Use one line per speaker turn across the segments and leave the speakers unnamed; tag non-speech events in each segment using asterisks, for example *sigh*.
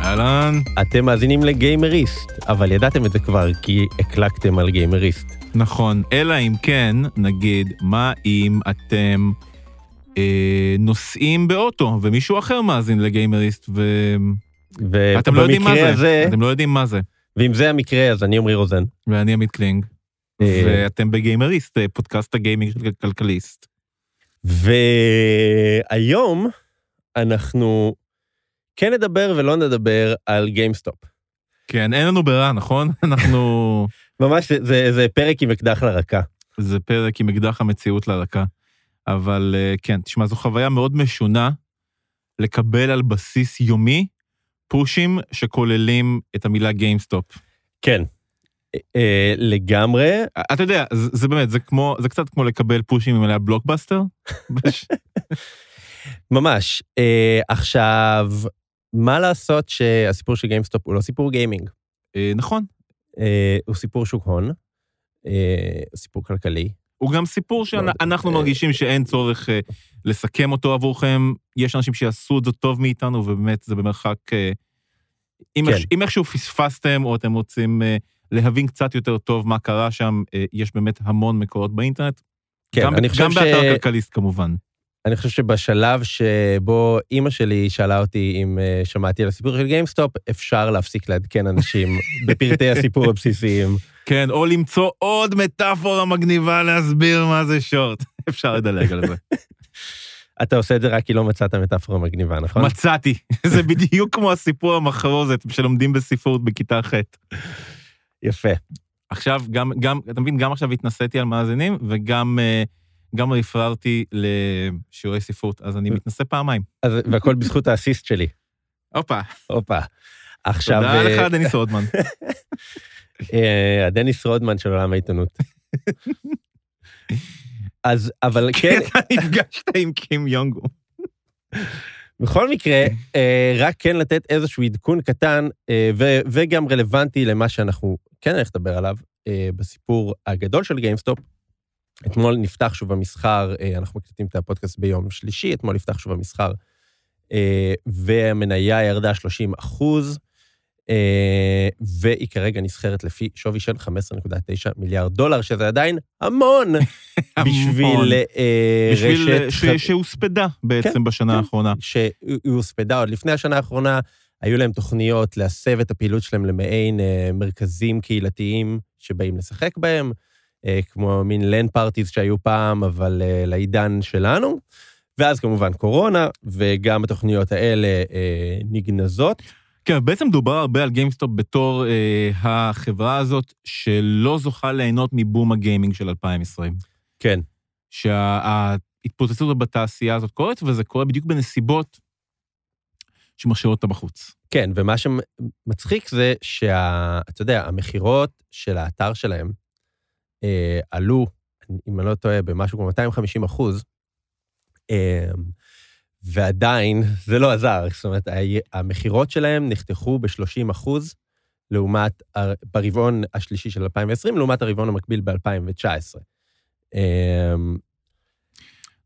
נכון,
אתם מאזינים לגיימריסט, אבל ידעתם את זה כבר כי הקלקתם על גיימריסט.
נכון. אלא אם כן, נגיד, מה אם אתם אה, נוסעים באוטו ומישהו אחר מאזין לגיימריסט ואתם לא יודעים מה
ובמקרה
זה.
הזה,
אתם לא יודעים מה זה.
ואם זה המקרה, אז אני עמרי רוזן.
ואני עמית קלינג,
אה,
ואתם בגיימריסט, אה, פודקאסט הגיימינג של כלכליסט.
והיום אנחנו כן נדבר ולא נדבר על גיימסטופ.
כן, אין לנו ברירה, נכון? *laughs* אנחנו...
ממש, זה- זה, זה פרק עם אקדח לרקה.
זה פרק עם אקדח המציאות לרקה. אבל אה, כן, תשמע, זו חוויה מאוד משונה לקבל על בסיס יומי פושים שכוללים את המילה גיימסטופ.
כן. אה, לגמרי,
אתה יודע, זה, זה באמת, זה כמו, זה קצת כמו לקבל פושים עם המילה בלוקבאסטר.
ממש. אה, עכשיו, מה לעשות שהסיפור של גיימסטופ הוא לא סיפור גיימינג,
אה, נכון,
אה, הוא סיפור שוק הון, אה, הוא סיפור כלכלי.
הוא גם סיפור
לא,
שאנחנו
אה,
מרגישים שאין צורך אה, לסכם אותו עבורכם. יש אנשים שיעשו את זה טוב מאיתנו, ובאמת, זה במרחק... אה, אם
כן.
איך- אם איכשהו פספסתם, או אתם רוצים אה, להבין קצת יותר טוב מה קרה שם, אה, יש באמת המון מקורות באינטרנט.
כן,
גם-
אני חושב
גם
ש-
באתר כלכליסט, כמובן.
אני חושב שבשלב שבו אימא שלי שאלה אותי אם אה, שמעתי על הסיפור של גיימסטופ, אפשר להפסיק לעדכן
*laughs*
אנשים בפרטי הסיפור הבסיסיים.
כן, או למצוא עוד מטאפורה מגניבה להסביר מה זה שורט. *laughs* אפשר לדלג על זה.
אתה עושה את זה רק כי לא מצאת מטאפורה מגניבה, *laughs* נכון?
מצאתי. *laughs* זה בדיוק כמו הסיפור המחרוזת שלומדים בספרות בכיתה ח'.
יפה.
עכשיו, גם, גם, אתה מבין, גם עכשיו התנסיתי על מאזינים, וגם אה, גם רפררתי לשיעורי ספרות, אז אני מתנסה פעמיים.
אז, והכל בזכות האסיסט שלי.
הופה,
הופה. עכשיו,
תודה
אה,
לך, דניס רודמן.
אה, הדניס רודמן של עולם
*laughs*
העיתונות. אז, אבל *laughs* כן,
כן, *laughs* אתה נפגשת עם קים יונגו.
בכל מקרה, אה, רק כן לתת איזשהו עדכון קטן, אה, ו- וגם רלוונטי למה שאנחנו כן הולך לדבר עליו, אה, בסיפור הגדול של גיימסטופ. אתמול נפתח שוב המסחר, אה, אנחנו מקליטים את הפודקאסט ביום שלישי, אתמול נפתח שוב המסחר, אה, והמניה ירדה 30 אחוז, אה, והיא כרגע נסחרת לפי שווי של 15.9 מיליארד דולר, שזה עדיין
*laughs*
המון בשביל אה,
בשביל
רשת...
אה, ש-
חד-
שהוספדה בעצם בשנה
כן.
האחרונה.
שהיא הוספדה עוד לפני השנה האחרונה, היו להם תוכניות להסב את הפעילות שלהם למעין אה, מרכזים קהילתיים שבאים לשחק בהם, אה, כמו מין לן פארטיז שהיו פעם, אבל אה, לעידן שלנו. ואז כמובן קורונה, וגם התוכניות האלה אה, נגנזות.
כן, בעצם דובר הרבה על גיימסטופ בתור אה, החברה הזאת שלא זוכה ליהנות מבום הגיימינג של 2020.
כן,
שההתפוצצות בתעשייה הזאת קורית, וזה קורה בדיוק בנסיבות שמשאירות אותה בחוץ.
כן, ומה שמצחיק זה שה... אתה יודע, המכירות של האתר שלהם אה, עלו, אם אני לא טועה, במשהו כמו 250 אחוז, אה, ועדיין זה לא עזר. זאת אומרת, ה- המכירות שלהם נחתכו ב-30 אחוז לעומת, ה- ברבעון השלישי של 2020, לעומת הרבעון המקביל ב-2019. אה,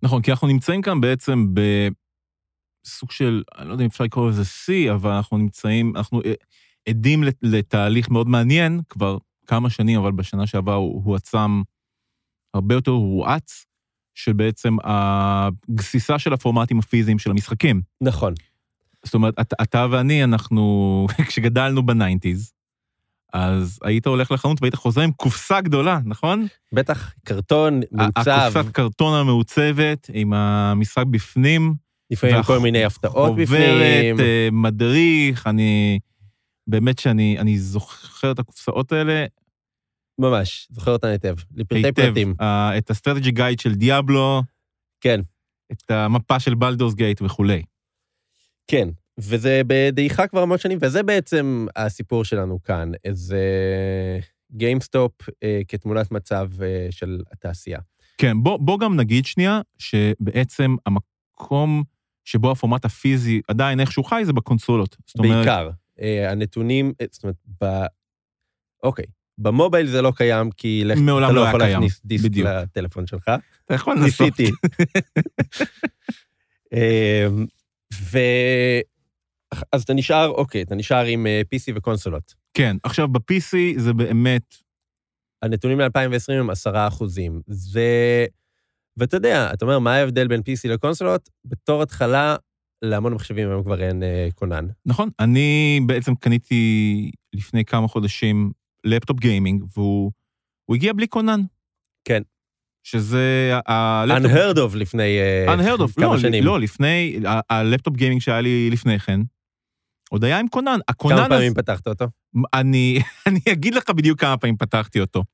נכון, כי אנחנו נמצאים כאן בעצם בסוג של, אני לא יודע אם אפשר לקרוא לזה שיא, אבל אנחנו נמצאים, אנחנו אה, עדים לת- לתהליך מאוד מעניין כבר כמה שנים, אבל בשנה שעברה הוא הועצם הרבה יותר הואץ, שבעצם הגסיסה של הפורמטים הפיזיים של המשחקים.
נכון,
זאת אומרת, אתה, אתה ואני, אנחנו, *laughs* כשגדלנו בניינטיז, אז היית הולך לחנות והיית חוזר עם קופסה גדולה, נכון?
בטח קרטון מעוצב,
הקופסת קרטון המעוצבת, עם המשחק בפנים.
לפעמים
והח-
כל מיני הפתעות בפנים.
חוברת, אה, מדריך, אני... באמת שאני אני זוכר את הקופסאות האלה
ממש, זוכר אותן היטב. לפרטי
היטב.
פרטים,
אה, את הסטרטג'י גייד של דיאבלו,
כן,
את המפה של בלדורס גייט וכולי.
כן. וזה בדעיכה כבר המון שנים, וזה בעצם הסיפור שלנו כאן. איזה גיימסטופ אה, כתמונת מצב אה, של התעשייה.
כן, בוא, בוא גם נגיד שנייה, שבעצם המקום שבו הפורמט הפיזי עדיין איכשהו חי זה בקונסולות. זאת אומרת,
בעיקר. אה, הנתונים, אה, זאת אומרת, ב... אוקיי. במובייל זה לא קיים, כי לך,
מעולם
אתה
לא
לא
היה
יכול
קיים,
להכניס דיסק
בדיוק. נכון.
לטלפון
*laughs*
שלך.
אתה יכול לנסות. *laughs*
ניסיתי. אמ, אה, אז אתה נשאר, אוקיי, אתה נשאר עם אה, PC וקונסולות.
כן, עכשיו ב-PC זה באמת,
הנתונים ל-2020 הם 10 אחוזים. זה... ואתה יודע, אתה אומר, מה ההבדל בין PC לקונסולות? בתור התחלה, להמון מחשבים היום כבר אין אה, כונן.
נכון, אני בעצם קניתי לפני כמה חודשים לפטופ גיימינג, והוא הוא הגיע בלי כונן.
כן.
שזה ה- הלפטופ...
Unheard of לפני אה,
Unheard of,
כמה
לא,
שנים.
לא, לפני, ה- הלפטופ גיימינג שהיה לי לפני כן, עוד היה עם כונן. הכונן
כמה
הזה...
פעמים פתחת אותו?
אני, *laughs* אני אגיד לך בדיוק כמה פעמים פתחתי אותו.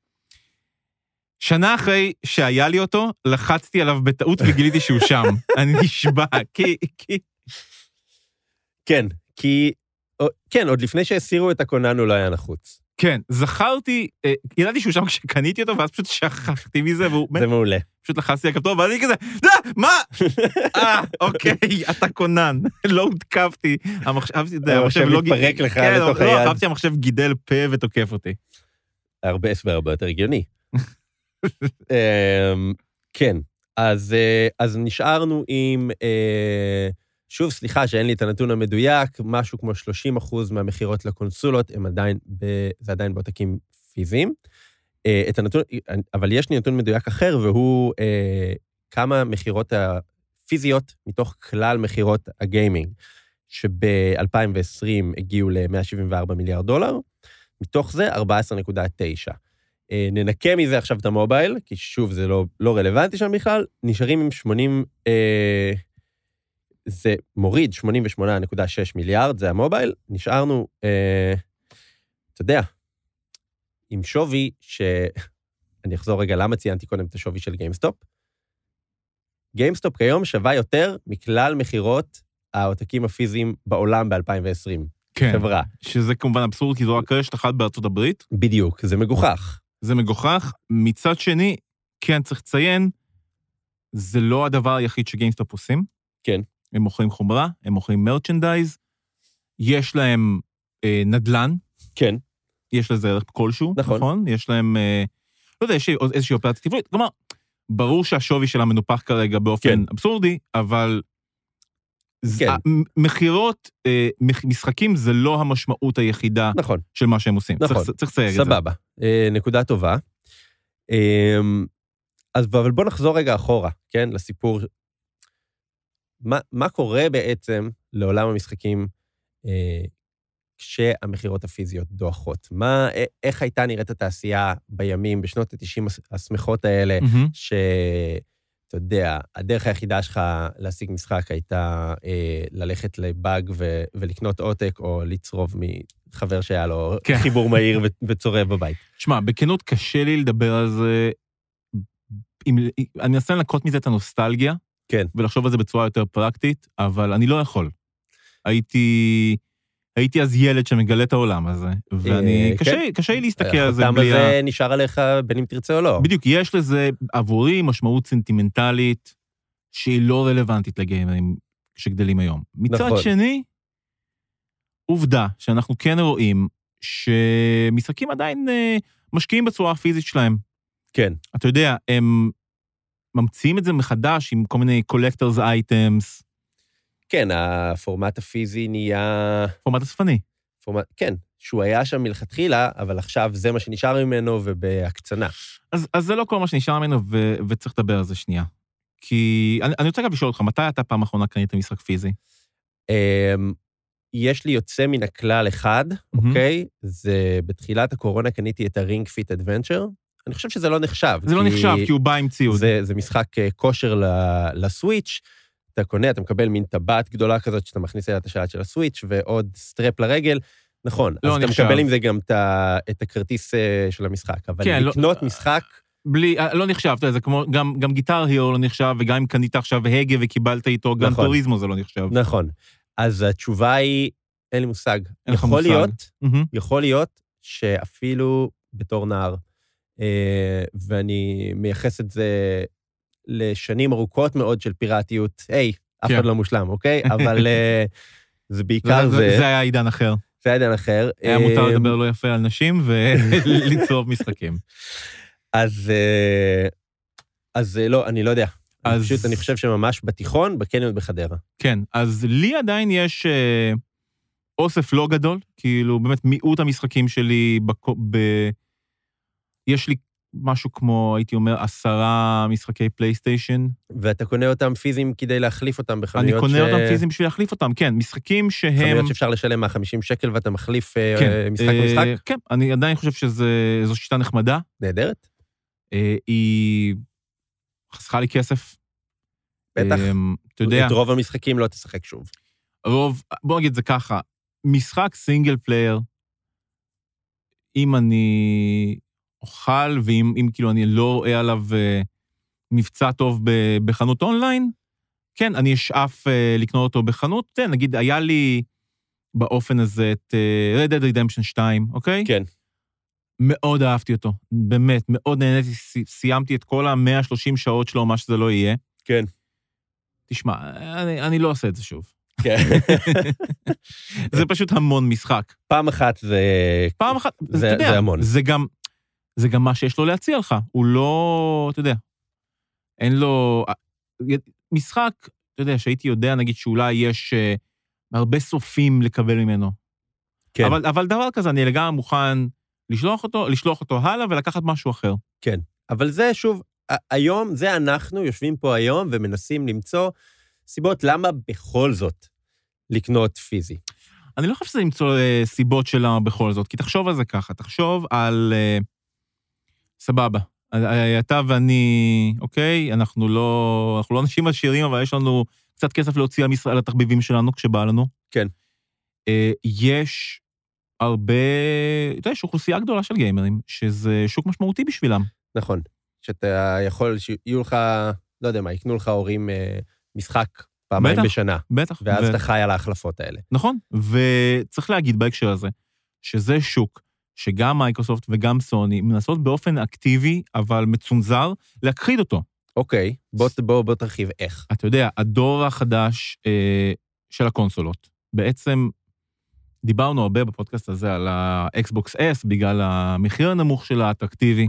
שנה אחרי שהיה לי אותו, לחצתי עליו בטעות וגיליתי שהוא
*laughs*
שם. אני נשבע, כי, כי...
כן, כי... או- כן, עוד לפני שהסירו את הכונן הוא לא היה נחוץ.
כן, זכרתי, אה, ידעתי שהוא שם כשקניתי אותו, ואז פשוט שכחתי מזה, והוא
זה מעולה.
פשוט לחצתי על הכפתור, ואז אני כזה, "אה,
*laughs*
מה? אה, אוקיי, אתה כונן. *laughs* לא הותקפתי. המחשב, אהבתי את זה,
המחשב
המחשב לא...
מתפרק
גיד-
לך
כן,
לתוך
לא,
היד.
אהבתי המחשב גידל פה ותוקף אותי.
הרבה הסבר הרבה יותר הגיוני. אמ, כן, אז, אה, אז נשארנו עם, אה, שוב, סליחה שאין לי את הנתון המדויק, משהו כמו 30 אחוז מהמכירות לקונסולות הם עדיין, ב, זה עדיין בעותקים פיזיים. אה, את הנתון, אבל יש לי נתון מדויק אחר, והוא אה, כמה מכירות הפיזיות מתוך כלל מכירות הגיימינג, שב-2020 הגיעו ל-174 מיליארד דולר, מתוך זה 14.9. אה, ננקה מזה עכשיו את המובייל, כי שוב, זה לא, לא רלוונטי שם בכלל, נשארים עם 80, אה, זה מוריד 88.6 מיליארד, זה המובייל, נשארנו, אה, אתה יודע, עם שווי ש... *laughs* אני אחזור רגע למה ציינתי קודם את השווי של גיימסטופ. גיימסטופ כיום שווה יותר מכלל מכירות העותקים הפיזיים בעולם ב-2020.
כן.
חברה.
שזה כמובן אבסורד, כי זו רק רשת אחת בארצות הברית.
בדיוק, זה מגוחך.
זה מגוחך. מצד שני, כן, צריך לציין, זה לא הדבר היחיד שגיימסטופ עושים.
כן.
הם מוכרים חומרה, הם מוכרים מרצ'נדייז, יש להם אה, נדלן,
כן.
יש לזה ערך כלשהו,
נכון.
נכון? נכון? יש להם, אה, לא יודע, יש עוד איזושהי אופרציה טבעית. כלומר, ברור שהשווי שלה מנופח כרגע באופן
כן.
כן. אבסורדי, אבל... זה-
כן.
המ- מכירות, אה, מח- משחקים זה לא המשמעות היחידה
נכון,
של מה שהם עושים.
נכון.
צריך- צריך לסייג את זה.
סבבה. אה, נקודה טובה. אה, אז אבל בוא נחזור רגע אחורה, כן? לסיפור. מה, מה קורה בעצם לעולם המשחקים אה, כשהמכירות הפיזיות דועכות? מה, א- איך הייתה נראית התעשייה בימים, בשנות ה-90 השמחות האלה,
מהמם.
שאתה יודע, הדרך היחידה שלך להשיג משחק הייתה אה, ללכת לבאג ו- ולקנות עותק, או לצרוב מחבר שהיה לו
כן.
חיבור מהיר ו- וצורב בבית.
שמע, בכנות קשה לי לדבר על זה. אם, אני מנסה לנקות מזה את הנוסטלגיה.
כן.
ולחשוב על זה בצורה יותר פרקטית, אבל אני לא יכול. הייתי, הייתי אז ילד שמגלה את העולם הזה, ואני,
אה,
קשה,
כן.
קשה לי להסתכל על זה
החותם
בלי ה...
הזה נשאר עליך בין אם תרצה או לא.
בדיוק, יש לזה עבורי משמעות סנטימנטלית שהיא לא רלוונטית לגיימרים שגדלים היום. מצד
נכון.
שני, עובדה שאנחנו כן רואים שמשחקים עדיין אה, משקיעים בצורה הפיזית שלהם.
כן,
אתה יודע, הם ממציאים את זה מחדש עם כל מיני collectors items,
כן, הפורמט הפיזי נהיה...
פורמט אספני.
פורמט, כן, שהוא היה שם מלכתחילה, אבל עכשיו זה מה שנשאר ממנו ובהקצנה.
אז, אז זה לא כל מה שנשאר ממנו, ו, וצריך לדבר על זה שנייה. כי אני, אני רוצה גם לשאול אותך, מתי אתה פעם אחרונה קנית משחק פיזי?
אמ, יש לי יוצא מן הכלל אחד,
Mm-hmm.
אוקיי? זה בתחילת הקורונה קניתי את הרינג פיט אדוונצ'ר. אני חושב שזה לא נחשב.
זה לא נחשב, כי הוא בא עם ציוד.
זה, זה משחק אה, כושר ל- לסוויץ'. אתה קונה, אתה מקבל מין טבעת גדולה כזאת שאתה מכניס אליה את השלט של הסוויץ' ועוד סטרפ לרגל. נכון,
לא
אז אתה
נחשב.
מקבל עם זה גם את, ה, את הכרטיס אה, של המשחק. אבל
כן, לא-
לקנות משחק,
בלי, אה, לא נחשב, אתה יודע, זה כמו, גם, גם גיטר הירו לא נחשב, וגם אם קנית עכשיו הגה וקיבלת איתו, גם
נכון.
טוריזמו זה לא נחשב.
נכון. אז התשובה היא, אין לי מושג.
אין לך
יכול
מושג.
להיות
מהמם.
יכול להיות שאפילו בתור נער, אה, ואני מייחס את זה לשנים ארוכות מאוד של פיראטיות, היי, אף
כן.
אחד לא מושלם,
*laughs*
אוקיי? אבל אה, זה בעיקר
זה, זה, זה
זה,
היה עידן אחר.
זה עדיין אחר.
היה
אה,
מותר לדבר לא יפה על נשים *laughs* ולצרוב משחקים.
אז... אה, אז אה, לא, אני לא יודע. אני
אז-
פשוט, אני חושב שממש בתיכון, בקניון בחדרה.
כן, אז לי עדיין יש... אה, אוסף לא גדול, כאילו, באמת מיעוט המשחקים שלי בקו... ב... יש לי משהו כמו, הייתי אומר, עשרה משחקי פלייסטיישן.
ואתה קונה אותם פיזיים כדי להחליף אותם
אני
בחנויות
קונה אותם פיזיים בשביל להחליף אותם, כן, משחקים שהם...
חנויות שאפשר לשלם מה-50 שקל ואתה מחליף אה,
כן,
אה, משחק
אה,
במשחק?
כן, אני עדיין חושב שזו שיטה נחמדה.
נהדרת,
אה, היא חסכה לי כסף.
בטח. אה,
אמ, אתה יודע,
את רוב המשחקים לא תשחק שוב.
רוב, בוא נגיד את זה ככה, משחק סינגל פלייר, אם אני אוכל ואם אם כאילו אני לא רואה עליו אה, מבצע טוב ב- בחנות אונליין, כן, אני אשאף אה, לקנות אותו בחנות. אתה יודע, נגיד, היה לי באופן הזה את אה, Red Dead Redemption 2, אוקיי?
כן.
מאוד אהבתי אותו, באמת, מאוד נהניתי, סי- סיימתי את כל ה-130 שעות שלו, מה שזה לא יהיה.
כן.
תשמע, אני, אני לא עושה את זה שוב.
כן.
זה פשוט המון משחק.
*laughs* פעם אחת זה...
פעם אחת,
זה-
אתה יודע,
זה המון.
זה גם, זה גם מה שיש לו להציע לך. הוא לא, אתה יודע, אין לו... משחק, אתה יודע, שהייתי יודע, נגיד, שאולי יש אה, הרבה סופים לקבל ממנו.
כן.
אבל, אבל דבר כזה, אני לגמרי מוכן לשלוח אותו, לשלוח אותו הלאה ולקחת משהו אחר.
אבל זה שוב, ה- היום, זה אנחנו יושבים פה היום ומנסים למצוא סיבות למה בכל זאת לקנות פיזי.
אני לא חושב שזה למצוא אה, סיבות של למה בכל זאת, כי תחשוב על זה ככה, תחשוב על... אה, סבבה. אה, אה, אתה ואני, אוקיי, אנחנו לא, אנחנו לא אנשים עשירים, אבל יש לנו קצת כסף להוציא על, משרד, על התחביבים שלנו כשבא לנו.
כן.
אה, יש הרבה, אתה יודע, יש אוכלוסייה גדולה של גיימרים, שזה שוק משמעותי בשבילם.
נכון. שאתה יכול, שיהיו לך, לא יודע מה, יקנו לך הורים אה, משחק פעמיים
בטח.
בשנה,
בטח.
ואז
ו-
אתה חי על ההחלפות האלה.
נכון, וצריך להגיד בהקשר הזה, שזה שוק שגם מייקרוסופט וגם סוני מנסות באופן אקטיבי, אבל מצונזר, להכחיד אותו.
אוקיי, בוא, בוא, בוא תרחיב איך.
אתה יודע, הדור החדש אה, של הקונסולות, בעצם דיברנו הרבה בפודקאסט הזה על ה-Xbox S, בגלל המחיר הנמוך שלה, האטרקטיבי,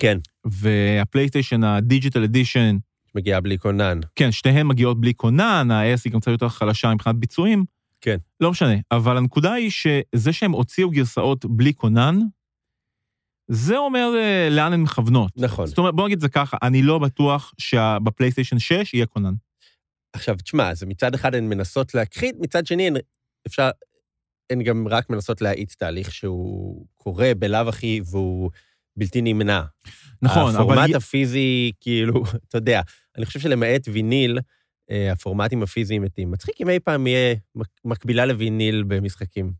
כן,
והפלייסטיישן הדיג'יטל אדישן,
מגיע בלי כונן.
כן, שתיהן מגיעות בלי כונן, ה-S היא גם קצת יותר חלשה מבחינת ביצועים.
כן.
לא משנה, אבל הנקודה היא שזה שהם הוציאו גרסאות בלי כונן, זה אומר אה, לאן הן מכוונות.
נכון.
זאת אומרת, בוא נגיד את זה ככה, אני לא בטוח שבפלייסטיישן 6 יהיה כונן.
עכשיו, תשמע, זה מצד אחד הן מנסות להכחיד, מצד שני הן אפשר, הן גם רק מנסות להאיץ תהליך שהוא קורה בלאו הכי והוא בלתי נמנע.
נכון, אבל...
הפורמט הפיזי, כאילו, *laughs* אתה יודע, אני חושב שלמעט ויניל, אה, הפורמטים הפיזיים מתים. מצחיק אם אי פעם יהיה מק- מקבילה לויניל במשחקים.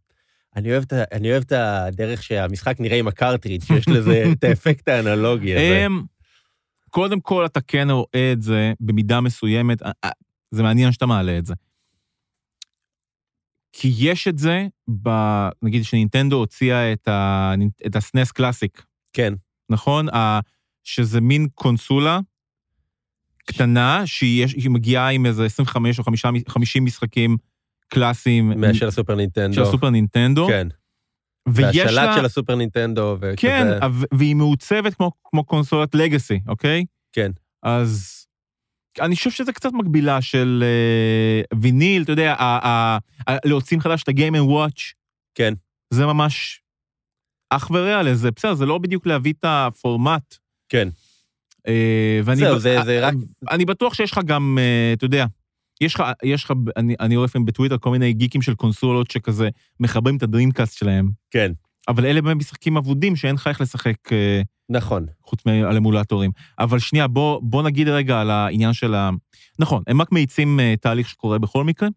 אני אוהב, את, ה- אני אוהב את הדרך שהמשחק נראה עם הקרטריג', שיש
*laughs*
לזה את האפקט האנלוגי הזה.
הם, קודם כל, אתה כן רואה את זה במידה מסוימת, אה, אה, זה מעניין שאתה מעלה את זה. כי יש את זה, ב, נגיד שנינטנדו הוציאה את, ה, את E הסנס קלאסיק,
כן,
נכון? ה, שזה מין קונסולה קטנה, שיש- שהיא מגיעה עם איזה 25 או 50 50 משחקים קלאסיים
מה- של הסופר נינטנדו.
אה, של הסופר נינטנדו,
כן,
ויש לה...
והשלט של הסופר נינטנדו וכזה.
כן, ו- והיא מעוצבת כמו, כמו קונסולת לגאסי, אוקיי?
כן.
אז אני חושב שזה קצת מקבילה של אה, ויניל, אתה יודע, ה- ה- ה- להוציא מחדש את ה-game and watch.
כן.
זה ממש אח ורע לזה. בסדר, זה לא בדיוק להביא את הפורמט.
כן.
אה, ואני
זהו,
ב-
זה- זה
אה,
רק-
אני בטוח שיש לך גם, אה, אתה יודע, יש לך, יש לך, אני, אני רואה לפעמים בטוויטר כל מיני גיקים של קונסולות שכזה מחברים את הדרימקאסט שלהם.
כן,
אבל אלה באמת משחקים אבודים שאין לך איך לשחק אה,
נכון.
חוץ מעל אמולטורים. אבל שנייה, בוא, בוא נגיד רגע על העניין של ה... נכון, הם רק מאיצים אה, תהליך שקורה בכל מקרה,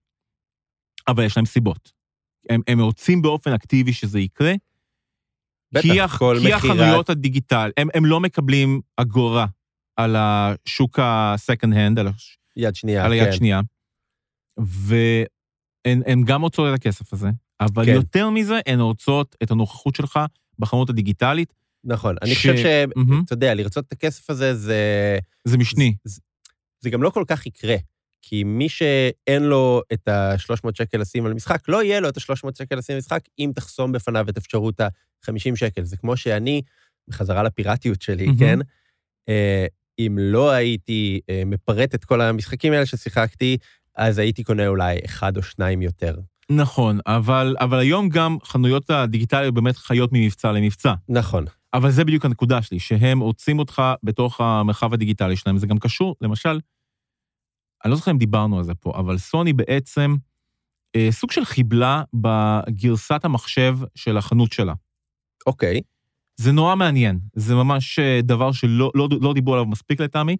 אבל יש להם סיבות. הם, הם רוצים באופן אקטיבי שזה יקרה,
בטח,
כי, הח-
כל
כי
מכירת-
החנויות הדיגיטל, הם, הם לא מקבלים אגורה על השוק ה-second hand, על, הש...
יד שנייה,
על
כן.
היד שנייה, והן הן גם רוצות את הכסף הזה, אבל
כן.
יותר מזה, הן רוצות את הנוכחות שלך בחנות הדיגיטלית.
נכון. אני
ש-
חושב ש...
מהמם.
אתה יודע, לרצות את הכסף הזה זה...
זה משני.
זה גם לא כל כך יקרה. כי מי שאין לו את ה-300 שקל לשים על משחק, לא יהיה לו את ה-300 שקל לשים על משחק, אם תחסום בפניו את אפשרות ה-50 שקל. זה כמו שאני, בחזרה לפיראטיות שלי,
מהמם.
כן? אה, אם לא הייתי אה, מפרט את כל המשחקים האלה ששיחקתי, אז הייתי קונה אולי אחד או שניים יותר.
נכון, אבל, אבל היום גם חנויות הדיגיטליות באמת חיות ממבצע למבצע.
נכון.
אבל זה בדיוק הנקודה שלי, שהם רוצים אותך בתוך המרחב הדיגיטלי שלהם. זה גם קשור, למשל, אני לא זוכר אם דיברנו על זה פה, אבל סוני בעצם אה, סוג של חיבלה בגרסת המחשב של החנות שלה.
אוקיי.
זה נורא מעניין, זה ממש אה, דבר שלא לא, לא דיברו עליו מספיק לטעמי.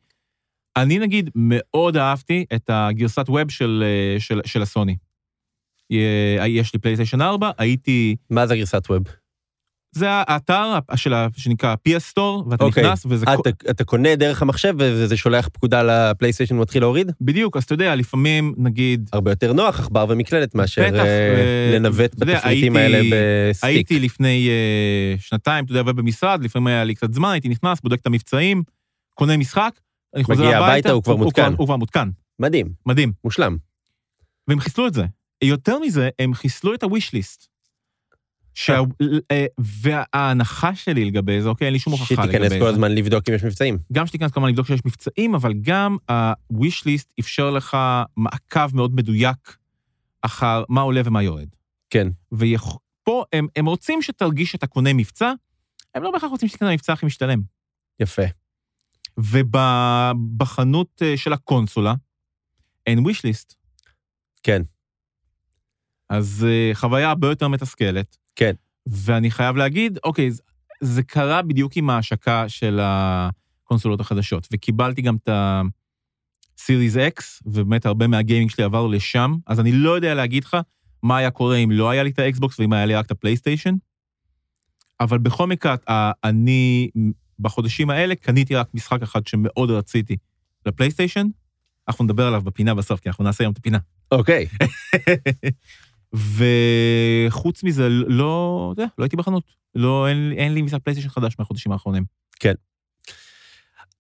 אני נגיד מאוד אהבתי את הגרסת ווב של, אה, של, של הסוני. אה, יש לי פלייסטיישן 4, הייתי...
מה זה גרסת ווב?
זה האתר של ה- שנקרא PS Store, ואתה
אוקיי.
נכנס, וזה...
אה,
כל-
אתה- אתה קונה דרך המחשב וזה שולח פקודה לפלייסטיישן ומתחיל להוריד?
בדיוק, אז אתה יודע, לפעמים, נגיד,
הרבה יותר נוח עכבר ומקלדת מאשר
בטח,
אה,
אה,
לנווט
אתה יודע,
בתפריטים
הייתי-
האלה בסטיק.
הייתי לפני אה, שנתיים, אתה יודע, עובד במשרד, לפעמים היה לי קצת זמן, הייתי נכנס, בודק את המבצעים, קונה משחק, אני חוזר
מגיע
הביתה,
הביתה, הוא כבר מותקן.
הוא כבר מותקן,
מדהים,
מדהים.
מושלם.
והם חיסלו את זה. יותר מזה, הם חיסלו את ה-wish list. שה- אה, וההנחה שלי לגבי זה, אוקיי, אין לי שום הוכחה לגבי זה.
שתיכנס כל הזמן לבדוק אם יש מבצעים.
גם שתיכנס כמובן לבדוק שיש מבצעים, אבל גם ה-wish list אפשר לך מעקב מאוד מדויק אחר מה עולה ומה יורד.
כן.
ופה הם, הם רוצים שתרגיש שאתה קונה מבצע, הם לא בהכרח רוצים שתקנה מבצע הכי משתלם.
יפה.
ובחנות אה, של הקונסולה אין wish list.
כן.
אז אה, חוויה הרבה יותר מתסכלת.
כן.
ואני חייב להגיד, אוקיי, זה- זה קרה בדיוק עם ההשקה של הקונסולות החדשות, וקיבלתי גם את ה-Series X, ובאמת הרבה מהגיימינג שלי עבר לשם, אז אני לא יודע להגיד לך מה היה קורה אם לא היה לי את האקסבוקס ואם היה לי רק את הפלייסטיישן, אבל בכל מקרה, ה- אני בחודשים האלה קניתי רק משחק אחד שמאוד רציתי לפלייסטיישן, אנחנו נדבר עליו בפינה בסוף, כי אנחנו נעשה היום את הפינה.
אוקיי.
וחוץ מזה, לא, אתה יודע, לא הייתי בחנות. לא, אין, לי- אין לי משחק פלייסטיישן חדש מהחודשים האחרונים.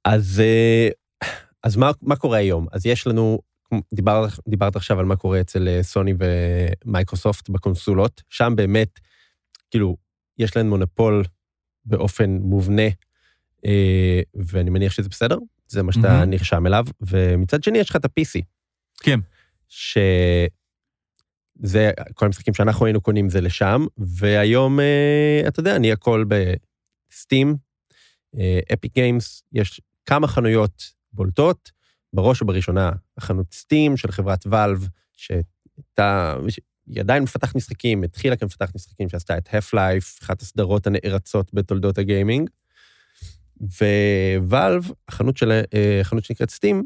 אז, אה, אז מה, מה קורה היום? אז יש לנו, דיבר, דיברת עכשיו על מה קורה אצל אה, סוני ומייקרוסופט בקונסולות, שם באמת, כאילו, יש להן מונופול באופן מובנה, אה, ואני מניח שזה בסדר, זה מה שאתה
מהמם.
נרשם אליו, ומצד שני יש לך את ה-PC.
כן.
ש... זה, כל המשחקים שאנחנו היינו קונים זה לשם, והיום, אה, אתה יודע, אני הכל בסטים, אפיק גיימס, יש כמה חנויות בולטות, בראש ובראשונה החנות סטים של חברת ואלב, שהייתה, היא עדיין מפתחת משחקים, התחילה כמפתחת משחקים שעשתה את האף לייף, אחת הסדרות הנערצות בתולדות הגיימינג. וואלב, החנות, של, אה, החנות שנקראת סטים,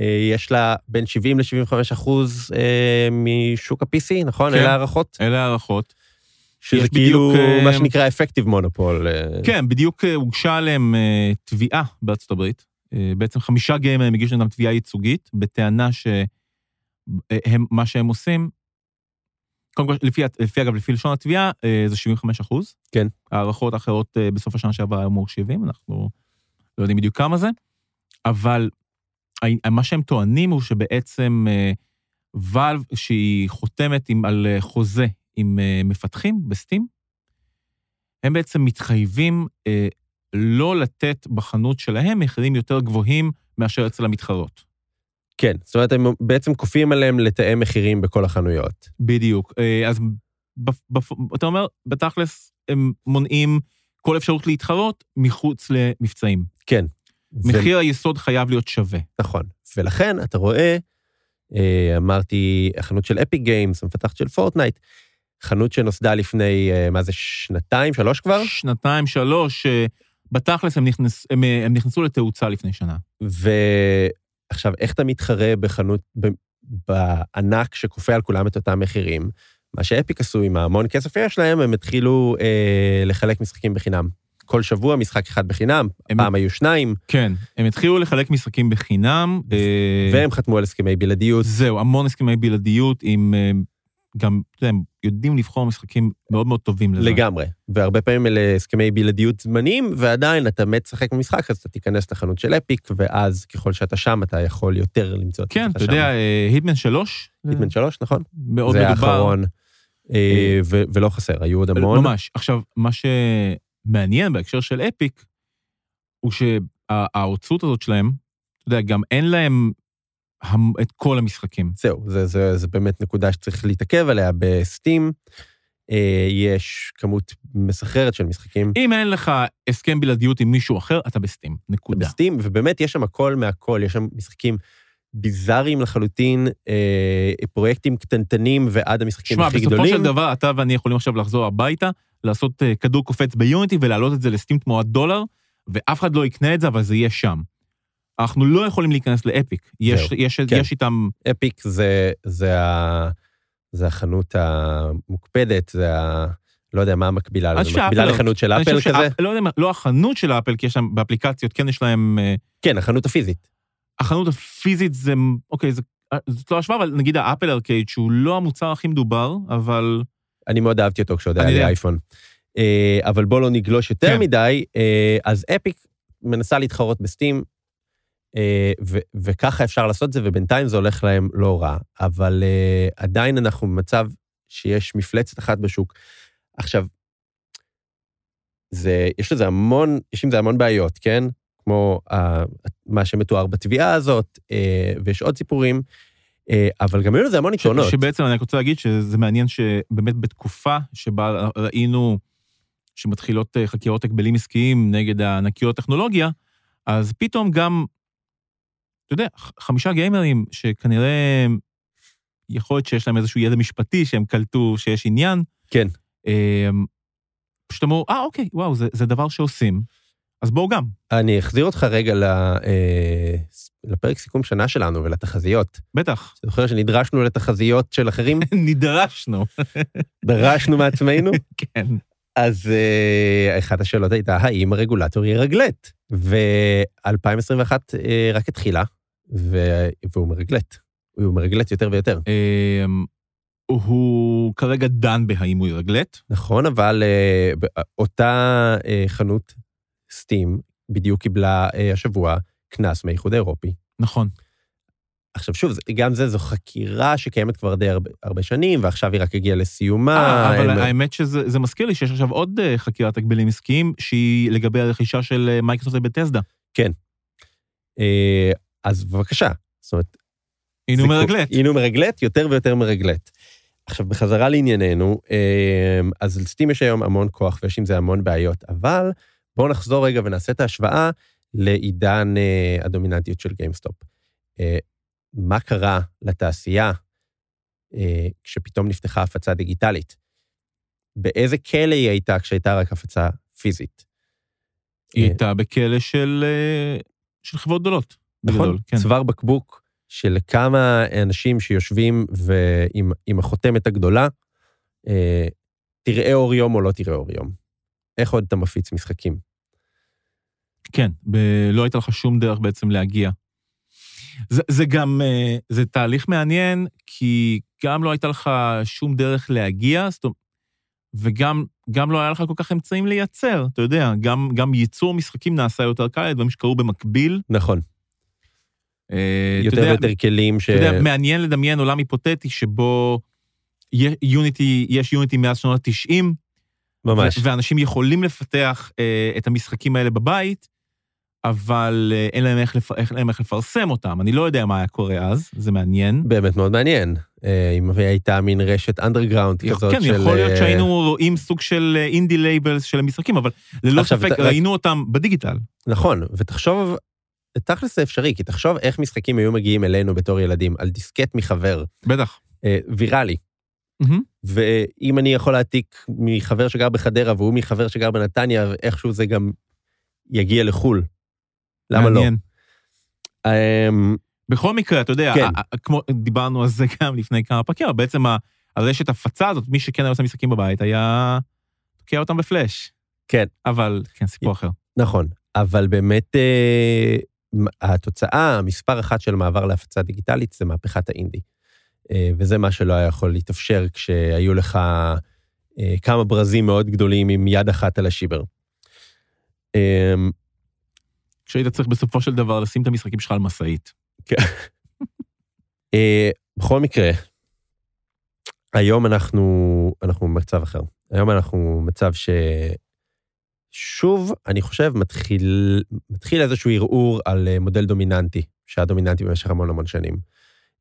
אה, יש לה בין 70 ל-75 אחוז אה, משוק ה-PC, נכון?
כן.
אלה הערכות.
אלה הערכות.
שזה
יש
כאילו
בדיוק, אה,
מה שנקרא אפקטיב מונופול.
כן, בדיוק אה, הוגשה עליהם אה, תביעה בארצות הברית. אה, בעצם חמישה גיימרים הגישו נגדם תביעה ייצוגית, בטענה שהם, מה שהם עושים, קודם כל, לפי, הת- לפי אגב, לפי לשון התביעה, אה, זה 75 אחוז.
כן. הערכות
הערכות אחרות אה, בסוף השנה שעברה היו אמור 70, אנחנו לא יודעים בדיוק כמה זה, אבל ה- מה שהם טוענים הוא שבעצם אה, ואלב, שהיא חותמת עם, על אה, חוזה עם אה, מפתחים בסטים, הם בעצם מתחייבים אה, לא לתת בחנות שלהם מחירים יותר גבוהים מאשר אצל המתחרות.
כן, זאת אומרת, הם בעצם כופים עליהם לתאם מחירים בכל החנויות.
בדיוק. אה, אז בפ- בפ- אתה אומר, בתכלס, הם מונעים כל אפשרות להתחרות מחוץ למבצעים.
כן. ו-
מחיר היסוד חייב להיות שווה.
נכון. ולכן אתה רואה, אה, אמרתי, החנות של אפיק גיימס, המפתחת של פורטנייט, חנות שנוסדה לפני, אה, מה זה, שנתיים, שלוש כבר?
שנתיים, שלוש, אה, בתכלס הם, נכנס, הם, אה, הם נכנסו לתאוצה לפני שנה.
ועכשיו, איך אתה מתחרה בחנות, ב... בענק שכופה על כולם את אותם מחירים? מה שאפיק עשו עם ההמון כסף שיש להם, הם התחילו אה, לחלק משחקים בחינם. כל שבוע משחק אחד בחינם,
הם-
פעם היו שניים,
כן, הם התחילו לחלק משחקים בחינם. אה,
והם חתמו על הסכמי בלעדיות.
זהו, המון הסכמי בלעדיות עם... אה, גם, אתה יודע, הם יודעים לבחור משחקים מאוד מאוד טובים לזה.
לגמרי. והרבה פעמים אלה הסכמי בלעדיות זמניים, ועדיין אתה מת לשחק במשחק, אז אתה תיכנס לחנות של אפיק, ואז ככל שאתה שם, אתה יכול יותר למצוא את
כן,
עצמך
אתה
שם.
יודע, היטמן 3,
היטמן 3, נכון?
אה, מאוד מדובר.
זה האחרון, אה, ו- ולא חסר, היו עוד המון.
ממש. עכשיו, מה שמעניין בהקשר של אפיק, הוא שההוצאות הזאת שלהם, אתה יודע, גם אין להם, המ- את כל המשחקים.
זהו, זה, זה, זה באמת נקודה שצריך להתעכב עליה בסטים. אה, יש כמות מסחררת של משחקים
אם אין לך הסכם בלעדיות עם מישהו אחר, אתה בסטים, נקודה.
בסטים, ובאמת יש שם הכל מהכל, יש שם משחקים ביזאריים לחלוטין, אה, פרויקטים קטנטנים ועד המשחקים
שמע,
הכי גדולים.
בסופו של דבר, אתה ואני יכולים עכשיו לחזור הביתה, לעשות אה, כדור קופץ ביוניטי ולהעלות את זה לסטים תמורת דולר, ואף אחד לא יקנה את זה, אבל זה יהיה שם. אנחנו לא יכולים להיכנס לאפיק. יש,
זהו,
יש,
כן.
יש איתם...
אפיק זה, זה, ה, זה החנות המוקפדת, זה ה... לא יודע מה המקבילה
אני
לזה,
חושב
מקבילה
שאפל-
לחנות של
אני
אפל
חושב
כזה?
שאפ- לא יודע מה, לא החנות של אפל, כי יש להם באפליקציות, כן יש להם... אה,
כן, החנות הפיזית.
החנות הפיזית זה... אוקיי, זה, אה, זאת לא השוואה, אבל נגיד האפל ארקייד, שהוא לא המוצר הכי מדובר, אבל...
אני מאוד אהבתי אותו כשעוד
אני
היה לי
יודע.
אייפון. אה, אבל בואו לא נגלוש יותר
כן.
מדי, אה, אז אפיק מנסה להתחרות בסטים, אה, ו- וככה אפשר לעשות את זה, ובינתיים זה הולך להם לא רע. אבל אה, עדיין אנחנו במצב שיש מפלצת אחת בשוק. עכשיו, זה, יש לזה המון, יש עם זה המון בעיות, כן? כמו ה, מה שמתואר בתביעה הזאת, אה, ויש עוד סיפורים, אה, אבל גם היו לזה המון יתרונות.
שבעצם אני רק רוצה להגיד שזה מעניין שבאמת בתקופה שבה ראינו שמתחילות אה, חקירות הגבלים עסקיים נגד הענקיות הטכנולוגיה, אז פתאום גם, אתה יודע, ח- חמישה גיימרים שכנראה יכול להיות שיש להם איזשהו ידע משפטי שהם קלטו שיש עניין.
כן.
אה, פשוט אמרו, אה, אוקיי, וואו, זה, זה דבר שעושים, אז בואו גם.
אני אחזיר אותך רגע ל- אה, לפרק סיכום שנה שלנו ולתחזיות.
בטח,
אתה זוכר שנדרשנו לתחזיות של אחרים?
נדרשנו.
דרשנו מעצמנו?
*laughs* כן.
אז אה, אחת השאלות הייתה, האם הרגולטור ירגלט? ו-2021 אה, רק התחילה, ו- והוא מרגלט. הוא מרגלט יותר ויותר.
אה, הוא כרגע דן בהאם הוא ירגלט.
נכון, אבל אה, ב- אותה אה, חנות סטים בדיוק קיבלה אה, השבוע קנס מהאיחוד האירופי.
נכון.
עכשיו שוב, זה- גם זה, זו חקירה שקיימת כבר די הרבה, הרבה שנים, ועכשיו היא רק הגיעה לסיומה.
אה, אבל
הם-
האמת שזה זה מזכיר לי שיש עכשיו עוד אה, חקירת הגבלים עסקיים, שהיא לגבי הרכישה של אה, מייקרוסופט לבטסדה.
אה, אז בבקשה. זאת אומרת...
הנה הוא
זה-
מרגלט.
הנה הוא מרגלט, יותר ויותר מרגלט. עכשיו, בחזרה לענייננו, אה, אז לסטים יש היום המון כוח ויש עם זה המון בעיות, אבל בואו נחזור רגע ונעשה את ההשוואה לעידן אה, הדומיננטיות של גיימסטופ. אה, מה קרה לתעשייה אה, כשפתאום נפתחה הפצה דיגיטלית? באיזה כלא היא הייתה כשהייתה רק הפצה פיזית?
היא
אה,
הייתה בכלא של אה, של חברות גדולות. בגדול, כן.
נכון, צוואר בקבוק של כמה אנשים שיושבים ועם, עם החותמת הגדולה, אה, תראה אור יום או לא תראה אור יום. איך עוד אתה מפיץ משחקים?
כן, ב- לא הייתה לך שום דרך בעצם להגיע. זה, זה גם, אה, זה תהליך מעניין, כי גם לא הייתה לך שום דרך להגיע, זאת אומרת, וגם גם לא היה לך כל כך אמצעים לייצר, אתה יודע, גם, גם ייצור משחקים נעשה יותר קל, דברים שקרו במקביל.
נכון,
אה, אתה
יותר
יודע,
ויותר כלים ש...
אתה יודע, מעניין לדמיין עולם היפותטי שבו יה- יוניטי, יש יוניטי מאז שנות ה-90,
ממש.
ו- ואנשים יכולים לפתח אה, את המשחקים האלה בבית, אבל אה, אין להם איך, לפ... אין להם איך לפרסם אותם. אני לא יודע מה היה קורה אז, זה מעניין.
באמת מאוד מעניין. אה, אם הייתה מין רשת אנדרגראונד
יכ-
כזאת
כן,
של...
יכול להיות
אה,
שהיינו רואים סוג של אה, אינדי לייבלס של המשחקים, אבל ללא
עכשיו,
ספק
אתה-
ראינו אותם בדיגיטל.
נכון, ותחשוב, תכלס זה אפשרי, כי תחשוב איך משחקים היו מגיעים אלינו בתור ילדים, על דיסקט מחבר,
בטח.
אה, ויראלי.
מהמם.
ואם אני יכול להעתיק מחבר שגר בחדרה והוא מחבר שגר בנתניה, איכשהו זה גם יגיע לחו"ל. למה לא?
מעניין.
אמ,
בכל מקרה, אתה יודע,
כן.
ה- ה- כמו דיברנו על זה *laughs* גם לפני כמה פרקים, אבל בעצם ה- הרשת הפצה הזאת, מי שכן היה עושה משחקים בבית, היה... תוקע אותם בפלאש.
כן.
אבל, כן, סיפור אחר.
נכון, אבל באמת אה, מ- התוצאה, מספר אחת של מעבר להפצה דיגיטלית זה מהפכת האינדי. אה, וזה מה שלא היה יכול להתאפשר כשהיו לך אה, כמה ברזים מאוד גדולים עם יד אחת על השיבר. אמ,
כשהיית צריך בסופו של דבר לשים את המשחקים שלך על משאית.
אה, בכל מקרה, היום אנחנו, אנחנו במצב אחר. היום אנחנו במצב ששוב, אני חושב, מתחיל, מתחיל איזשהו ערעור על אה, מודל דומיננטי שהיה דומיננטי במשך המון המון שנים.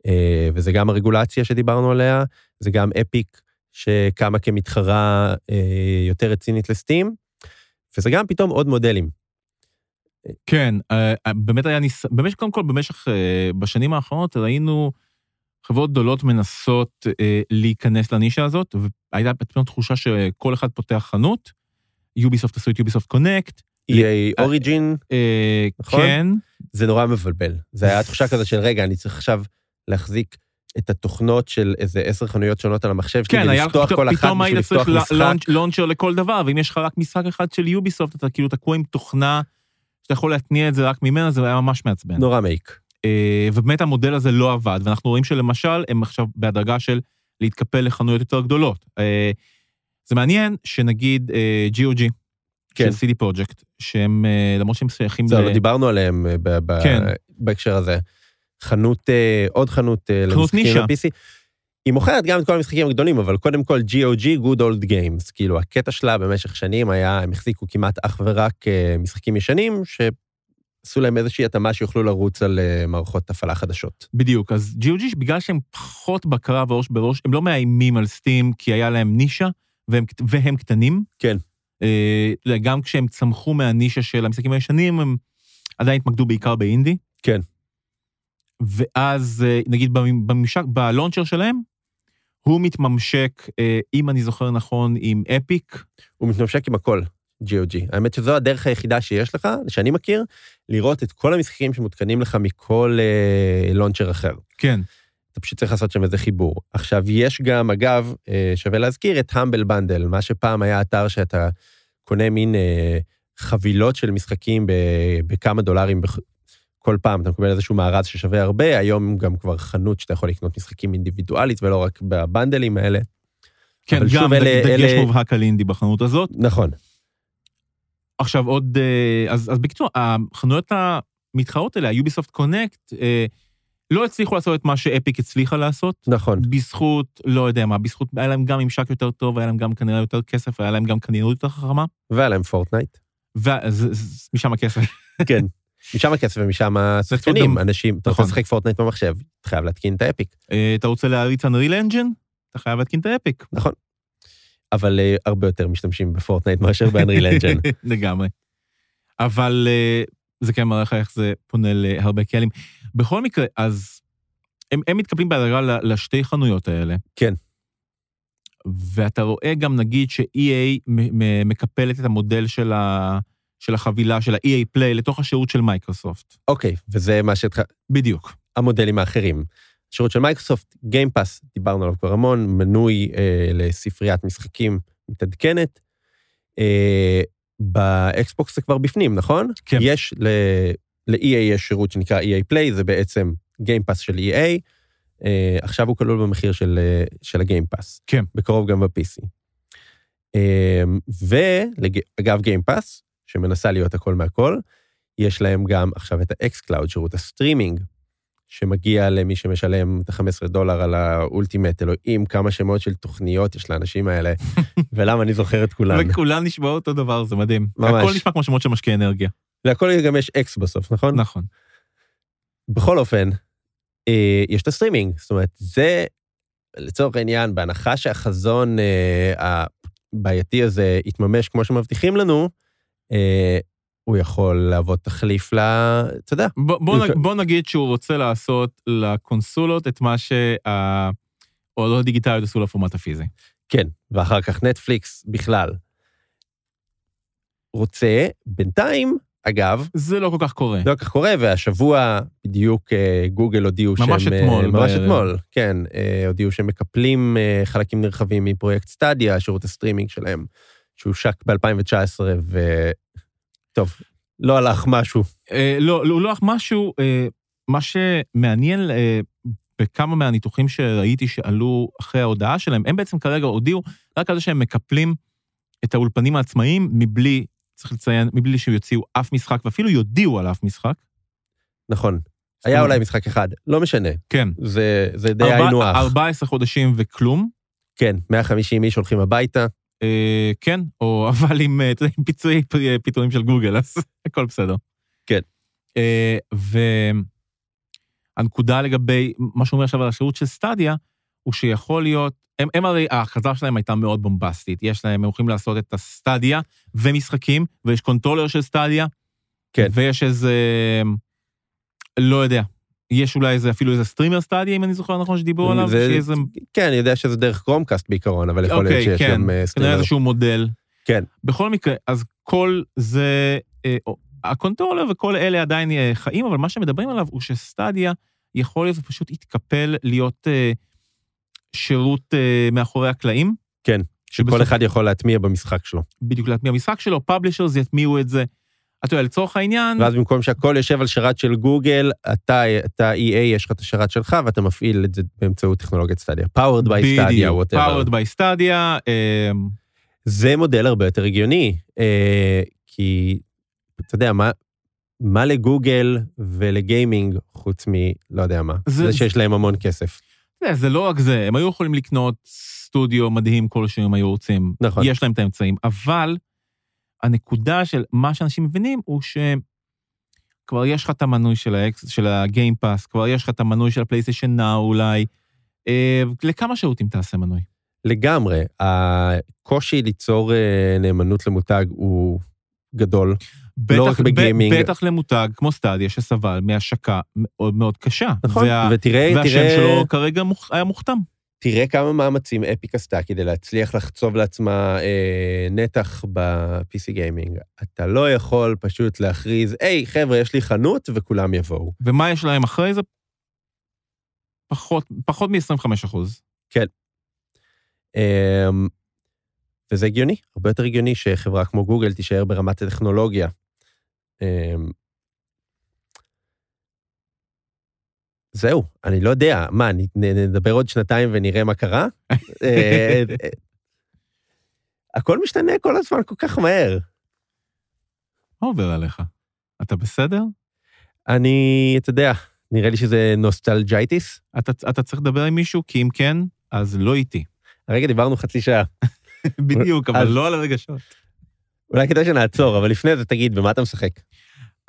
אה, וזה גם הרגולציה שדיברנו עליה, זה גם אפיק שקמה כמתחרה אה, יותר רצינית לסטים, וזה גם פתאום עוד מודלים.
כן, אה, אה, באמת היה ניס... במשך, קודם כל, במשך, אה, בשנים האחרונות ראינו חברות גדולות מנסות אה, להיכנס לנישה הזאת, והייתה פתאום תחושה שכל אחד פותח חנות, יוביסופט עשו את יוביסופט קונקט,
EA אוריג'ין,
אה,
נכון.
כן,
זה נורא מבלבל. זה היה תחושה כזו של, רגע, אני צריך עכשיו להחזיק את התוכנות של איזה עשר חנויות שונות על המחשב שלי,
כן, היה לך,
ולפתוח כל אחת
פתאום
בשביל
היית
לפתוח
צריך ל-
משחק.
לונצ'- לונצ'ר לכל דבר, ואם יש לך רק משחק אחד של יוביסופט, אתה כאילו תקוע עם תוכנה שאתה יכול להתניע את זה רק ממנה, זה היה ממש מעצבן.
נורא מעיק.
אה, ובאמת המודל הזה לא עבד, ואנחנו רואים שלמשל, הם עכשיו בהדרגה של להתקפל לחנויות יותר גדולות. אה, זה מעניין שנגיד אה, GOG,
כן.
של CD פרויקט, שהם, אה, למרות שהם שייכים
זהו, לא דיברנו עליהם אה, ב- ב-
כן.
בהקשר הזה. חנות, אה, עוד חנות אה,
חנות
למשחקים
נישה.
ל-PC. היא מוכרת גם את כל המשחקים הגדולים, אבל קודם כל GOG, Good Old Games. כאילו, הקטע שלה במשך שנים היה, הם החזיקו כמעט אך ורק אה, משחקים ישנים, שעשו להם איזושהי התאמה שיוכלו לרוץ על אה, מערכות הפעלה חדשות.
בדיוק, אז GOG, בגלל שהם פחות בקרה וראש בראש, הם לא מאיימים על סטים, כי היה להם נישה, והם, והם קטנים.
כן.
אה, אתה יודע, גם כשהם צמחו מהנישה של המשחקים הישנים, הם עדיין התמקדו בעיקר באינדי.
כן.
ואז, אה, נגיד, במ- בממשק, בלונצ'ר שלהם, הוא מתממשק, אה, אם אני זוכר נכון, עם אפיק.
הוא מתממשק עם הכל, GOG. האמת שזו הדרך היחידה שיש לך, שאני מכיר, לראות את כל המשחקים שמותקנים לך מכל אה, לונצ'ר אחר.
כן.
אתה פשוט צריך לעשות שם איזה חיבור. עכשיו, יש גם, אגב, אה, שווה להזכיר את המבל בנדל, מה שפעם היה אתר שאתה קונה מין אה, חבילות של משחקים ב, בכמה דולרים בכ- כל פעם, אתה מקבל איזשהו מארז ששווה הרבה, היום גם כבר חנות שאתה יכול לקנות משחקים אינדיבידואלית ולא רק בבנדלים האלה.
כן,
אבל
גם
שוב, אלה-
דג- דגש
אלה-
מובהק על אינדי בחנות הזאת.
נכון.
עכשיו עוד, אה, אז, אז בקיצור, החנויות המתחרות האלה, יוביסופט קונקט, לא הצליחו לעשות את מה שאפיק הצליחה לעשות,
נכון.
בזכות, לא יודע מה, בזכות, היה להם גם ממשק יותר טוב, היה להם גם כנראה יותר כסף, היה להם גם קניות יותר חכמה,
והיה להם פורטנייט.
ומשם הכסף.
כן. משם הכסף ומשם
צודק.
השחקנים, אנשים, אתה רוצה
נכון.
לשחק פורטנייט במחשב, אתה חייב להתקין את האפיק.
אה, אתה רוצה להריץ אנריל אנג'ן? אתה חייב להתקין את האפיק.
אבל אה, הרבה יותר משתמשים בפורטנייט מאשר באנריל אנג'ן.
*laughs* לגמרי. אבל אה, זה כן מראה לך איך זה פונה להרבה קהלים. בכל מקרה, אז הם, הם מתקבלים בהדרגה ל- לשתי חנויות האלה.
כן.
ואתה רואה גם, נגיד, ש-EA מ- מ- מקפלת את המודל של, ה, של החבילה, של ה-EA Play, לתוך השירות של מייקרוסופט.
אוקיי, וזה מה שהתח...
בדיוק.
המודלים האחרים. השירות של מייקרוסופט, גיימפאס, דיברנו עליו כבר המון, מנוי אה, לספריית משחקים מתעדכנת. אה, באקסבוקס זה כבר בפנים, נכון?
כן.
יש, ל... ל-EA יש שירות שנקרא EA Play, זה בעצם גיימפאס של EA. אה, עכשיו הוא כלול במחיר של, אה, של הגיימפאס.
כן.
בקרוב גם ב-PC. אה, ואגב, גיימפאס, שמנסה להיות הכל מהכל, יש להם גם עכשיו את האקס-קלאוד, שירות הסטרימינג, שמגיע למי שמשלם את ה-15 דולר על האולטימט, אלוהים, כמה שמות של תוכניות יש לאנשים
*laughs*
האלה, ולמה אני זוכר את כולן.
וכולן נשמעות אותו דבר, זה מדהים.
ממש.
הכל נשמע כמו שמות של משקיעי אנרגיה.
להכל גם יש אקס בסוף, נכון?
נכון.
בכל אופן, אה, יש את הסטרימינג, זאת אומרת, זה לצורך העניין, בהנחה שהחזון אה, הבעייתי הזה יתממש כמו שמבטיחים לנו, אה, הוא יכול להוות תחליף ל... אתה יודע,
בוא, בוא, נג,
אוקיי.
בוא נגיד שהוא רוצה לעשות לקונסולות את מה שההודעות הדיגיטליות עשו לפורמט הפיזי.
כן, ואחר כך נטפליקס בכלל. רוצה, בינתיים, אגב,
זה לא כל כך קורה.
לא כל כך קורה, והשבוע בדיוק אה, גוגל הודיעו שהם...
ממש אתמול
אה, ממש
בערב.
אתמול, כן. אה, הודיעו שהם מקפלים אה, חלקים נרחבים מפרויקט סטדיה, שירות הסטרימינג שלהם, שהושק ב-2019, ו... טוב, לא הלך משהו.
אה, לא, לא, לא, משהו, אה, מה שמעניין אה, בכמה מהניתוחים שראיתי שעלו אחרי ההודעה שלהם, הם בעצם כרגע הודיעו רק על זה שהם מקפלים את האולפנים העצמאיים מבלי, צריך לציין, מבלי שיוציאו אף משחק, ואפילו יודיעו על אף משחק.
נכון.
זאת
היה
אומרת,
אולי משחק אחד, לא משנה.
כן.
זה, זה די
ארבע-
היינו הך.
14 חודשים וכלום.
כן, 150 איש הולכים הביתה,
אה, כן, או *laughs* אבל עם, אה, אתה יודע, עם פיצויי *laughs* פ- פיטורים של גוגל, אז הכל בסדר.
כן.
אה, ו... הנקודה לגבי מה שאומר עכשיו על השירות של סטדיה, הוא שיכול להיות, הם, הם הרי, ההכרזה שלהם הייתה מאוד בומבסטית. יש להם, הם הולכים לעשות את הסטדיה ומשחקים, ויש קונטרולר של סטדיה.
כן.
ויש איזה, לא יודע, יש אולי איזה, אפילו איזה סטרימר סטדיה, אם אני זוכר נכון, שדיברו עליו,
Mm, זה-
שאיזה,
כן, אני יודע שזה דרך קרומקאסט בעיקרון, אבל יכול להיות
אוקיי,
שיש
כן.
גם אה,
כנראה
סטרימר.
איזשהו מודל.
כן.
בכל מקרה, אז כל זה, אה, או- הקונטרולר וכל אלה עדיין אה, חיים, אבל מה שמדברים עליו הוא שסטדיה יכול להיות פשוט התקפל להיות אה, שירות אה, מאחורי הקלעים,
שכל
שבסוף-
אחד יכול להטמיע במשחק שלו.
בדיוק להטמיע משחק שלו, פאבלישרס יטמיעו את זה. אתה יודע, לצורך העניין,
ואז במקום שהכל יושב על שרת של גוגל, אתה, אתה EA, יש לך את השרת שלך, ואתה מפעיל את זה באמצעות טכנולוגיית סטדיה. Powered by Stadia,
בדיוק,
whatever.
powered by Stadia, אה,
זה מודל הרבה יותר הגיוני, אה, כי אתה יודע, מה, מה לגוגל ולגיימינג חוץ מ... לא יודע מה.
זה-
זה, זה שיש להם המון כסף.
אתה יודע, זה לא רק זה, הם היו יכולים לקנות סטודיו מדהים כלשהו אם היו רוצים.
נכון.
יש להם את האמצעים, אבל הנקודה של מה שאנשים מבינים הוא שכבר יש לך את המנוי של, האקס, של הגיימפאס, כבר יש לך את המנוי של הפלייסטיישן נאו אולי. אה, לכמה שירותים תעשה מנוי?
לגמרי. הקושי ליצור אה, נאמנות למותג הוא גדול. לא
בטח-
רק בגיימינג.
ב- בטח למותג כמו סטדיה שסבל מהשקה מאוד מאוד קשה.
נכון.
וה,
ותראה,
והשם
תראה...
שלו כרגע מוכ, היה מוכתם.
תראה כמה מאמצים אפיק עשתה כדי להצליח לחצוב לעצמה אה, נתח ב-PC גיימינג. אתה לא יכול פשוט להכריז, היי, חבר'ה, יש לי חנות וכולם יבואו.
ומה יש להם אחרי זה? פחות, פחות מ-25 אחוז.
אה, וזה הגיוני, הרבה יותר הגיוני שחברה כמו גוגל תישאר ברמת הטכנולוגיה. אה, זהו, אני לא יודע. מה, נ- נ- נדבר עוד שנתיים ונראה מה קרה? אה, אה, הכל משתנה כל הזמן כל כך מהר.
מה עובר עליך? אתה בסדר?
אני, אתה יודע, נראה לי שזה נוסטלג'ייטיס.
אתה, אתה צריך לדבר עם מישהו, כי אם כן, אז לא איתי.
הרגע דיברנו חצי שעה.
*laughs* בדיוק, אבל
אז-
לא על הרגשות.
אולי כדאי שנעצור, אבל לפני זה תגיד, במה אתה משחק?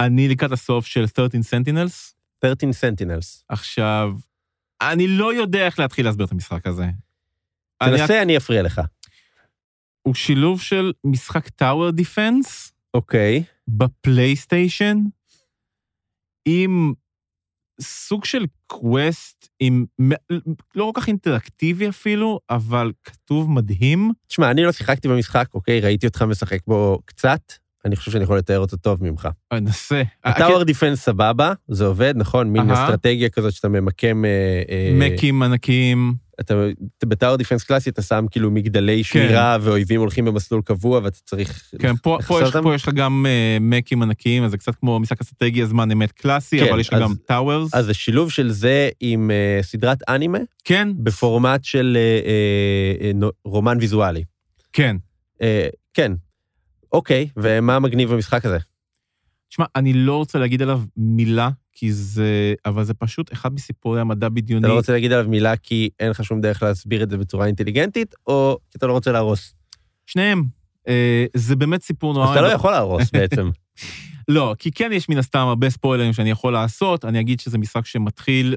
אני לקראת הסוף של 13 Sentinels.
13 Sentinels.
עכשיו, אני לא יודע איך להתחיל להסביר את המשחק הזה. אני רק-
תנסה, אני אפריע לך.
הוא שילוב של משחק טאוור דיפנס
אוקיי.
בפלייסטיישן, עם סוג של קווסט, עם מ- לא כל כך אינטראקטיבי אפילו, אבל כתוב מדהים.
תשמע, אני לא שיחקתי במשחק, אוקיי? ראיתי אותך משחק בו קצת, אני חושב שאני יכול לתאר אותו טוב ממך.
אנסה.
הטאוור דיפנס סבבה, זה עובד, נכון? מין
אה, כן. אהה.
אסטרטגיה כזאת שאתה ממקם... אה, אה,
מקים ענקיים.
אתה, אתה- בטאוור דיפנס קלאסי אתה שם כאילו מגדלי שמירה, ואויבים הולכים במסלול קבוע, ואתה צריך...
כן, פה, פה,
לחסל
יש,
אותם?
פה יש לך גם אה, מקים ענקיים, אז זה קצת כמו משחק אסטרטגיה זמן אמת קלאסי,
כן,
אבל יש לך
אז-
גם טאוורס.
אז זה שילוב של זה עם אה, סדרת אנימה,
כן,
בפורמט של אה, אה, אה, נו- רומן ויזואלי.
כן.
אה, כן. אוקיי, ומה מגניב במשחק הזה?
תשמע, אני לא רוצה להגיד עליו מילה, כי זה... אבל זה פשוט אחד מסיפורי המדע בדיוני.
אתה לא רוצה להגיד עליו מילה כי אין לך שום דרך להסביר את זה בצורה אינטליגנטית, או כי אתה לא רוצה להרוס?
שניהם. אה, זה באמת סיפור נורא...
אז אתה לא יכול להרוס
*laughs*
בעצם.
לא, כי כן יש מן הסתם הרבה ספוילרים שאני יכול לעשות. אני אגיד שזה משחק שמתחיל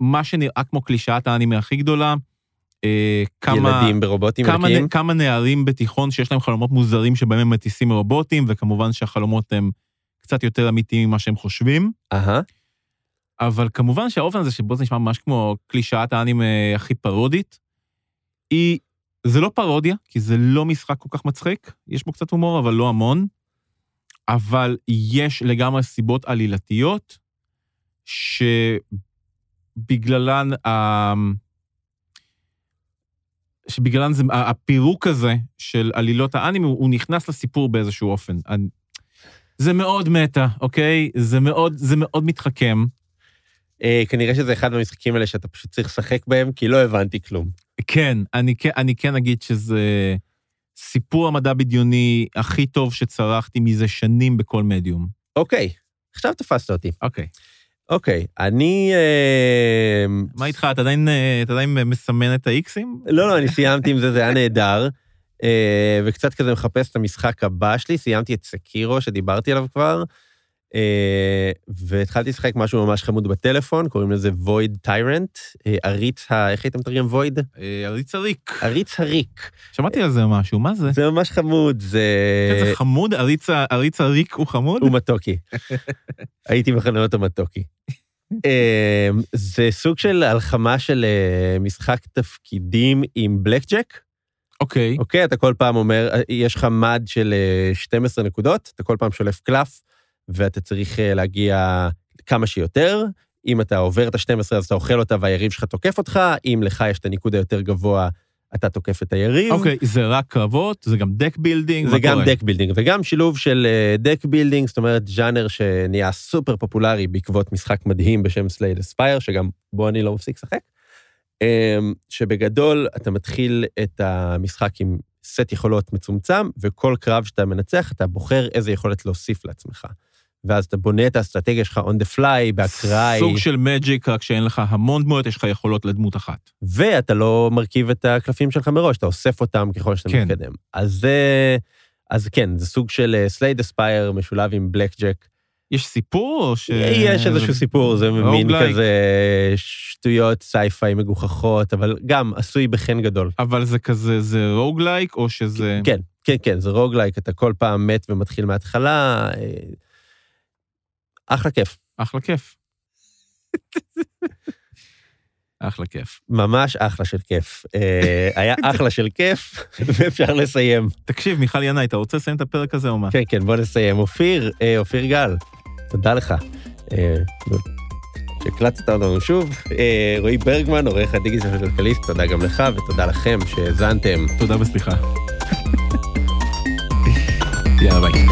ממה שנראה כמו קלישאת האנימה הכי גדולה. אה, כמה...
ילדים ברובוטים
כמה,
ענקיים.
נ, כמה נערים בתיכון שיש להם חלומות מוזרים שבהם הם מטיסים רובוטים, וכמובן שהחלומות הם קצת יותר אמיתיים ממה שהם חושבים.
אהה,
אבל כמובן שהאופן הזה שבו זה נשמע ממש כמו קלישאת האנימה אה, הכי פרודית, היא, זה לא פרודיה, כי זה לא משחק כל כך מצחיק, יש בו קצת הומור, אבל לא המון, אבל יש לגמרי סיבות עלילתיות, שבגללן, ה... שבגללן זה, ה- הפירוק הזה של עלילות האנימה, הוא נכנס לסיפור באיזשהו אופן. אני- זה מאוד מטה, אוקיי? זה מאוד, זה מאוד מתחכם.
אה, כנראה שזה אחד מהמשחקים האלה שאתה פשוט צריך לשחק בהם, כי לא הבנתי כלום.
כן, אני, כן- אני כן אגיד שזה סיפור המדע בדיוני הכי טוב שצרחתי מזה שנים בכל מדיום.
אוקיי, עכשיו תפסת אותי.
אוקיי.
אוקיי, אני... אה,
מה איתך, אתה עדיין, אה, אתה עדיין מסמן את האיקסים?
לא, לא, אני סיימתי עם זה, זה היה נהדר. אה, וקצת כזה מחפש את המשחק הבא שלי, סיימתי את סקירו שדיברתי עליו כבר, אה, והתחלתי לשחק משהו ממש חמוד בטלפון, קוראים לזה Void Tyrant, אה, עריץ ה... איך היית מתרגם Void?
אה, עריץ עריק.
עריץ הריק.
שמעתי על זה משהו, מה זה?
זה ממש חמוד, זה...
כן, זה חמוד, עריץ ה- עריץ עריק הוא חמוד?
אה, הוא מתוקי. הייתי מכנה אותו מתוקי. אמ, זה סוג של הלחמה של אה, משחק תפקידים עם בלק ג'ק.
אוקיי.
אוקיי, אתה כל פעם אומר, אה, יש לך מד של אה, 12 נקודות, אתה כל פעם שולף קלף, ואתה צריך אה, להגיע כמה שיותר. אם אתה עובר את ה-12 אז אתה אוכל אותה והיריב שלך תוקף אותך, אם לך יש את הניקוד היותר גבוה, אתה תוקף את היריב.
אוקיי, זה רק קרבות, זה גם דק בילדינג,
זה
מה
גם
קורה?
דק בילדינג, וגם שילוב של דק בילדינג, זאת אומרת, ז'אנר שנהיה סופר פופולרי בעקבות משחק מדהים בשם סלייד אספייר, שגם בו אני לא מפסיק לשחק, אמ, שבגדול אתה מתחיל את המשחק עם סט יכולות מצומצם, וכל קרב שאתה מנצח, אתה בוחר איזה יכולת להוסיף לעצמך. ואז אתה בונה את האסטרטגיה שלך on the fly, באקראי,
סוג של מג'יק, רק שאין לך המון דמויות, יש לך יכולות לדמות אחת.
ואתה לא מרכיב את הקלפים שלך מראש, אתה אוסף אותם ככל שאתה
כן.
מתקדם. אז זה... אז כן, זה סוג של סלייד אספייר משולב עם בלק ג'ק.
יש סיפור או ש...
יש איזשהו סיפור, זה מין
roguelike.
כזה אה, שטויות, סייפיי מגוחכות, אבל גם עשוי בחן גדול.
אבל זה כזה, זה רוגלייק, או שזה...
כן, כן, כן, זה רוגלייק, אתה כל פעם מת ומתחיל מההתחלה. אה, אחלה כיף,
אחלה *laughs* כיף. אחלה כיף.
ממש אחלה של כיף. אה,
*laughs*
היה אחלה של כיף, *laughs* ואפשר לסיים.
תקשיב, מיכל ינאי, אתה רוצה לסיים את הפרק הזה או מה?
כן, כן, בוא נסיים. אופיר, אה, אופיר גל, תודה לך. אה, שהקלטת אותנו שוב. אה, רועי ברגמן, עורך הדיגיטל של כלכליסט, תודה גם לך ותודה לכם שהאזנתם.
תודה וסליחה. יאללה, ביי.